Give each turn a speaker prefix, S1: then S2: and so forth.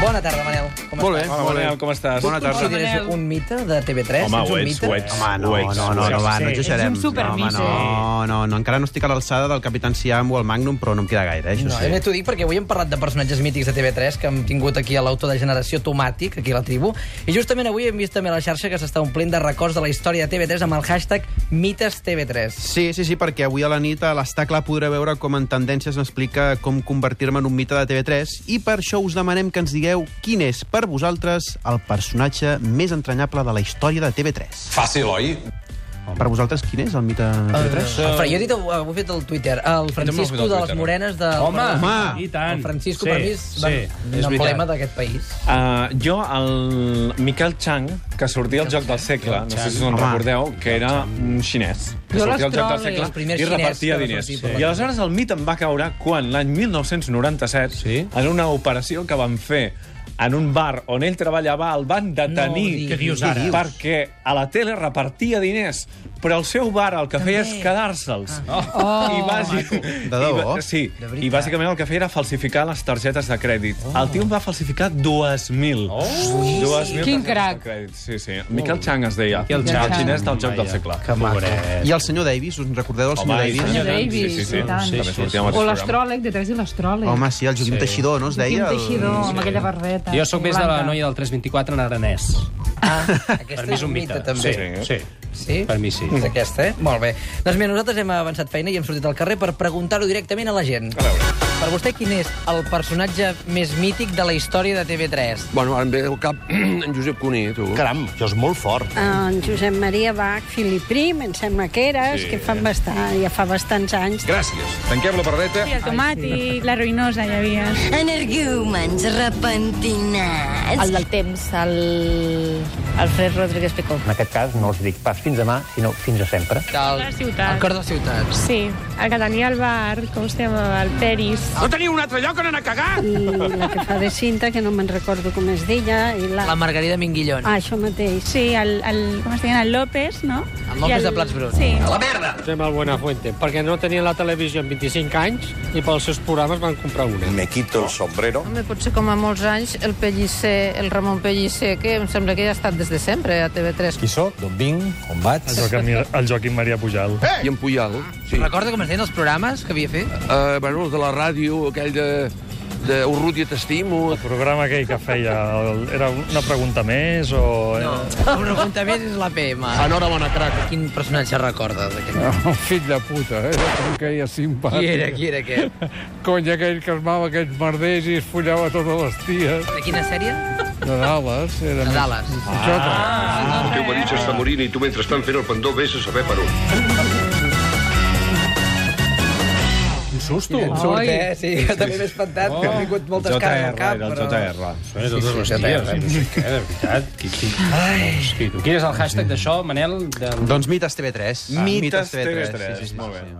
S1: Bona tarda, Manel. Com
S2: Molt bé.
S1: estàs?
S2: Hola,
S3: Manel,
S2: Manel,
S3: com estàs?
S2: Bona
S1: Tu
S2: tarda.
S1: consideres un mite de TV3?
S3: Home,
S1: Ets
S3: ho
S1: un
S3: ets,
S1: mite?
S3: ho ets.
S4: Home, no,
S3: Ho ets,
S4: no, no,
S3: ho
S4: no,
S3: ets.
S4: va, no exagerem.
S5: Ets un supermiso.
S4: No, home, no, no, no, encara no estic a l'alçada del Capitán Siam o el Magnum, però no em queda gaire, eh, això
S1: No, sí.
S4: sí.
S1: t'ho dic perquè avui hem parlat de personatges mítics de TV3 que hem tingut aquí a l'autor de Generació Tomàtic, aquí a la tribu, i justament avui hem vist també a la xarxa que s'està omplint de records de la història de TV3 amb el hashtag MitesTV3.
S4: Sí, sí, sí, perquè avui a la nit a l'Estacle podré veure com en Tendències m'explica com convertir-me en un mite de TV3 i per això us demanem que ens digueu quin és per vosaltres el personatge més entranyable de la història de TV3.
S6: Fàcil, oi?
S4: Per vosaltres quin és el mite
S1: Eh,
S4: de TV3?
S1: El Fra- jo he dit, ho he fet al Twitter, el Francisco
S3: fet al
S1: de les
S3: Twitter.
S1: Morenes de...
S2: Home,
S4: Home.
S2: i tant.
S1: El Francisco,
S2: sí,
S1: per mi, és
S2: sí,
S1: un
S2: és
S1: emblema
S2: veritat.
S1: d'aquest país.
S3: Uh, jo, el Miquel Chang, que sortia al Joc del Segle, no sé si us en
S4: Home.
S3: recordeu, que era un xinès, que
S5: Jo
S3: sortia al Joc del
S5: l'estrolo,
S3: Segle
S5: els
S1: primers
S3: i
S1: xinès
S3: repartia
S1: que va
S3: diners.
S1: sortir per la
S3: I aleshores el mit em va caure quan l'any 1997,
S2: Sí.
S3: en una operació que van fer en un bar on ell treballava, el van detenir
S1: Què
S2: dius ara?
S3: perquè a la tele repartia diners, però el seu bar el que feia és quedar-se'ls. Ah. Oh. I, bàsic...
S4: De debò?
S3: I, ba- sí, i bàsicament el que feia era falsificar les targetes de crèdit. Oh. El tio en va falsificar 2.000. Oh. 2.000 targetes
S5: Quin crac.
S3: de crèdit. Sí, sí. Miquel Chang es deia.
S2: Miquel Chang.
S3: El xinès del joc del segle.
S2: Que maco.
S4: I el senyor Davis, us en recordeu del senyor
S3: Home, i
S4: Davis?
S5: Senyor
S3: tant,
S5: Davis,
S3: sí, sí, sí.
S5: i tant.
S3: També sortia amb
S5: O
S3: aquest programa.
S5: l'astròleg, de tres i l'astròleg.
S4: Home, sí, el Joaquim
S2: Sí.
S4: Teixidor, no es
S5: Quin
S4: deia? El-
S5: teixidor, amb aquella barbeta.
S2: Jo sóc més de la
S5: blanca.
S2: noia del 324 en aranès.
S1: Ah,
S2: Per
S1: aquesta
S2: mi és un mite.
S1: també.
S2: Sí, sí.
S1: Sí?
S2: Per mi sí.
S1: És aquesta, eh? Molt bé. Doncs mira, nosaltres hem avançat feina i hem sortit al carrer per preguntar-ho directament a la gent.
S3: A veure.
S1: Per vostè, quin és el personatge més mític de la història de TV3?
S7: Bueno, ara em ve al cap en Josep Cuní, tu.
S8: Caram, això és molt fort.
S9: En Josep Maria Bach, Filiprim, em sembla que eres, sí. que fan bastant, ja fa bastants anys.
S6: Gràcies. Tanquem la paradeta.
S10: I el tomàtic, la ruïnosa hi havia.
S9: Energúmens repentinats.
S10: El del temps, el... Alfred Rodríguez Picó.
S8: En aquest cas no els dic pas fins demà, sinó fins a sempre.
S1: Del...
S10: La ciutat.
S1: El cor de la ciutat.
S10: Sí, el que tenia el bar, com es llamava, el Peris.
S9: I Mm, la que fa de cinta, que no me'n recordo com es deia, i la...
S1: La Margarida Minguillón.
S9: Ah, això mateix.
S10: Sí, el, el, com es deien, el López, no?
S1: El López
S10: I
S1: de Plats Bruts.
S10: Sí.
S8: Fem el Buenafuente, perquè no tenien la televisió en 25 anys i pels seus programes van comprar una.
S6: Me quito el sombrero.
S10: Home, potser com a molts anys, el Pellicer, el Ramon Pellicer, que em sembla que ja ha estat des de sempre a TV3.
S8: Qui sóc? D'on vinc? On vaig?
S11: El Joaquim Maria Pujal.
S7: I en Puyal, sí.
S1: Recorda com es deien els programes que havia fet?
S7: Uh, bueno, els de la ràdio, aquell de... de Urrutia t'estimo.
S11: El programa aquell que feia, el- era una pregunta més o... No.
S1: Un pregunta més és la PM.
S7: Enhorabona, crac.
S1: Quin personatge recorda d'aquest?
S8: Ah, Un fill de puta, eh? Com que hi ha
S1: Qui
S8: simpàtic.
S1: era, qui era aquest?
S8: Cony aquell que armava aquells merders i es follava totes les ties.
S1: De quina sèrie?
S8: De Dallas. Era
S1: De Dallas.
S6: El teu marit s'està morint i tu mentrestant fent el pendó vés a saber per on.
S2: Un susto.
S1: Et surt, eh? Sí, jo també m'he espantat, que m'han vingut moltes
S3: JR,
S1: cares al cap,
S3: era el
S1: però...
S3: JR.
S2: Sí, totes
S1: sí,
S2: les
S1: sí,
S2: ties,
S1: sí.
S2: i no sé què, de veritat. Qui, qui, qui, quin és el hashtag d'això, Manel? Del...
S4: Doncs mites TV3.
S3: Mites
S4: TV3,
S3: TV3,
S4: sí, sí, sí,
S3: molt bé.
S4: sí.